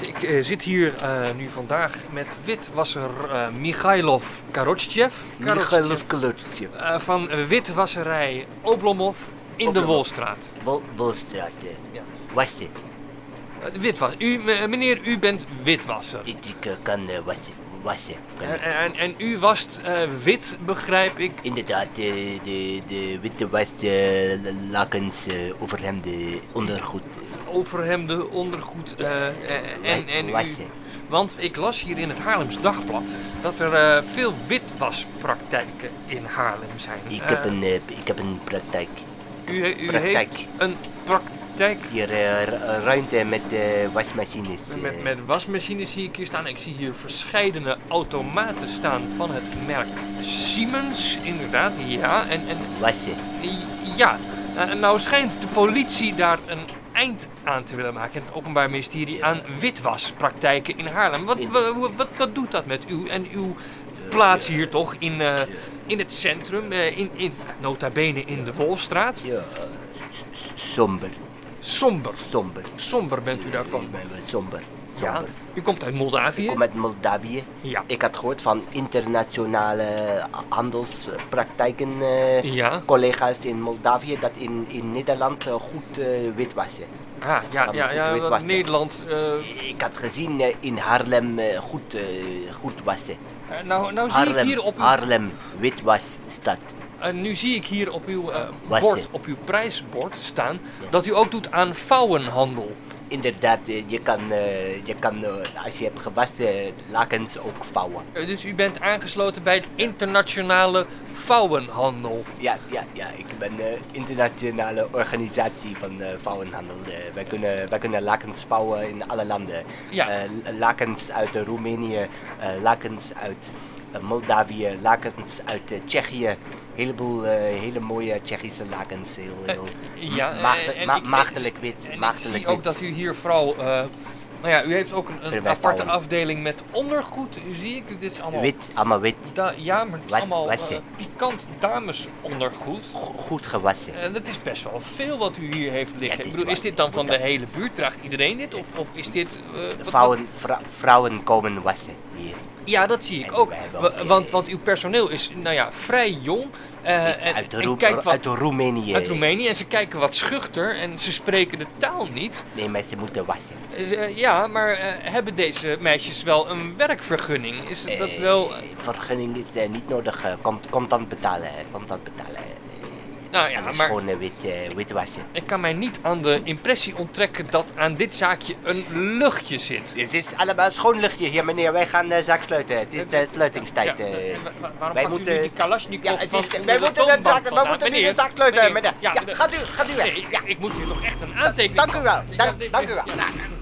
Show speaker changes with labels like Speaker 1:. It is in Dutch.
Speaker 1: Ik eh, zit hier eh, nu vandaag met witwasser eh Mikhailov Karotjev.
Speaker 2: Michael Kalutje,
Speaker 1: Eh, van witwasserij Oblomov in de
Speaker 2: Oblomov.
Speaker 1: Wolstraat.
Speaker 2: Wol, Wolstraat. hè.
Speaker 1: Ja.
Speaker 2: Wassen.
Speaker 1: Eh, witwas. U, m- eh, meneer, u bent witwasser.
Speaker 2: Ik, ik eh, kan eh, wassen. wassen. Kan ik.
Speaker 1: En, en, en u wast eh, wit, begrijp ik.
Speaker 2: Inderdaad, eh, de, de witte was, eh, l- lakens, eh, overhemden, ondergoed. eh,
Speaker 1: Overhemden, ondergoed eh, eh, en, en u.
Speaker 2: wassen.
Speaker 1: Want ik las hier in het Haarlems Dagblad dat er eh, veel witwaspraktijken in Haarlem zijn.
Speaker 2: Ik,
Speaker 1: Eh,
Speaker 2: heb een, eh, ik heb een praktijk.
Speaker 1: U, he- u
Speaker 2: Praktijk.
Speaker 1: heeft een praktijk
Speaker 2: Hier eh, ru- ruimte met eh, wasmachines. eh.
Speaker 1: met, met wasmachines zie ik hier staan. Ik zie hier verscheidene automaten staan van het merk Siemens, inderdaad, ja. En, en
Speaker 2: Wassen.
Speaker 1: ja, Eh, nou schijnt de politie daar een eind aan te willen maken. Het Openbaar Ministerie aan witwaspraktijken in Haarlem. Wat,
Speaker 2: In-
Speaker 1: wa- wat, wat, doet dat met u en uw plaats hier toch in, eh, in het centrum, eh, in, in, nota bene in de Wolstraat?
Speaker 2: Ja, eh, s- s- somber.
Speaker 1: Somber,
Speaker 2: Somber.
Speaker 1: somber bent u daarvan.
Speaker 2: Ik ben wel Somber.
Speaker 1: Ja,
Speaker 2: Somber.
Speaker 1: u komt uit
Speaker 2: Ik
Speaker 1: Moldavië.
Speaker 2: kom uit Moldavië.
Speaker 1: Ja.
Speaker 2: Ik had gehoord van internationale handelspraktijken, eh,
Speaker 1: Ja.
Speaker 2: collega's in Moldavië, dat in, in Nederland eh, goed eh, wit was.
Speaker 1: Ah, ja,
Speaker 2: Kan
Speaker 1: ja,
Speaker 2: goed
Speaker 1: ja,
Speaker 2: wit
Speaker 1: want
Speaker 2: wassen.
Speaker 1: Nederland. eh,
Speaker 2: Ik had gezien eh, in Haarlem eh, goed, eh, goed wassen.
Speaker 1: eh, nou, nou zie ik
Speaker 2: Haarlem,
Speaker 1: hier op uw,
Speaker 2: Haarlem witwasstad.
Speaker 1: eh, nu zie ik hier op uw eh,
Speaker 2: Wassen.
Speaker 1: bord, op uw prijsbord staan, dat u ook doet aan vouwenhandel.
Speaker 2: Inderdaad, eh, je kan, eh, je kan eh, als je hebt gewassen, eh, lakens ook vouwen.
Speaker 1: Eh, dus u bent aangesloten bij de internationale vouwenhandel.
Speaker 2: Ja, ja, ja. Ik ben de internationale organisatie van eh, vouwenhandel. Eh, wij, kunnen, wij kunnen lakens vouwen in alle landen.
Speaker 1: Ja.
Speaker 2: Eh, l- lakens uit eh, Roemenië, eh, lakens uit eh, Moldavië, lakens uit eh, Tsjechië. Een heleboel eh, hele mooie Tsjechische lakens. Heel, heel
Speaker 1: ja, eh,
Speaker 2: maagde-
Speaker 1: en
Speaker 2: ma-
Speaker 1: ik-
Speaker 2: maagdelijk wit.
Speaker 1: En ik
Speaker 2: maagdelijk
Speaker 1: zie ook
Speaker 2: wit.
Speaker 1: dat u hier vooral. eh, nou ja, u heeft ook een, een
Speaker 2: Erbij
Speaker 1: aparte
Speaker 2: vouwen.
Speaker 1: afdeling met ondergoed, zie ik. Dit is allemaal.
Speaker 2: Wit, allemaal wit.
Speaker 1: da- ja, maar het is
Speaker 2: Was-
Speaker 1: allemaal eh,
Speaker 2: wassen.
Speaker 1: pikant damesondergoed.
Speaker 2: Go- goed gewassen.
Speaker 1: Eh, dat is best wel veel wat u hier heeft liggen.
Speaker 2: het
Speaker 1: ik
Speaker 2: is
Speaker 1: bedoel,
Speaker 2: waar.
Speaker 1: is dit dan van de
Speaker 2: Dat-
Speaker 1: hele buurt? Draagt iedereen dit? Of, of is dit... eh, wat- wat-
Speaker 2: Vrouwen, vrou- vrouwen komen wassen hier.
Speaker 1: Ja, dat zie ik
Speaker 2: En
Speaker 1: ook.
Speaker 2: wij hebben
Speaker 1: Wa-
Speaker 2: ook, eh,
Speaker 1: Want, want uw personeel is, nou ja, vrij jong. eh, en,
Speaker 2: uit,
Speaker 1: en
Speaker 2: Roem-
Speaker 1: kijkt wat
Speaker 2: uit Roemenië.
Speaker 1: uit Roemenië. En ze kijken wat schuchter en ze spreken de taal niet.
Speaker 2: Nee, maar ze moeten wassen.
Speaker 1: Eh, ze- eh, ja, maar eh, hebben deze meisjes wel een werkvergunning? Is dat
Speaker 2: Eh,
Speaker 1: wel... eh,
Speaker 2: Vergunning is eh, niet nodig. eh, Komt, contant betalen. eh, Contant betalen.
Speaker 1: nou
Speaker 2: Ja,
Speaker 1: ja,
Speaker 2: en een
Speaker 1: maar...
Speaker 2: schone wit, eh, wit wassen.
Speaker 1: Ik kan mij niet aan de impressie onttrekken dat aan dit zaakje een luchtje zit.
Speaker 2: Het is allemaal schoon luchtje hier, meneer. Wij gaan eh, zaak sluiten. Het is eh, sluitingstijd.
Speaker 1: Ja,
Speaker 2: eh.
Speaker 1: en wa- wa- waarom
Speaker 2: wij
Speaker 1: pakt u
Speaker 2: moeten-
Speaker 1: nu die Kalashnikov
Speaker 2: Ja, het
Speaker 1: van
Speaker 2: is,
Speaker 1: onder
Speaker 2: wij
Speaker 1: de
Speaker 2: moeten de
Speaker 1: toonbank
Speaker 2: zaak, wij
Speaker 1: vandaan?
Speaker 2: moeten nu de
Speaker 1: Meneer,
Speaker 2: zaak sluiten,
Speaker 1: meneer,
Speaker 2: meneer. Ja,
Speaker 1: de-
Speaker 2: gaat u, gaat u weg.
Speaker 1: Nee,
Speaker 2: Ja.
Speaker 1: ik moet hier toch echt een aantekening
Speaker 2: Dank u wel.
Speaker 1: Ja,
Speaker 2: Dank,
Speaker 1: nee,
Speaker 2: dank u wel. Nou,
Speaker 1: ja.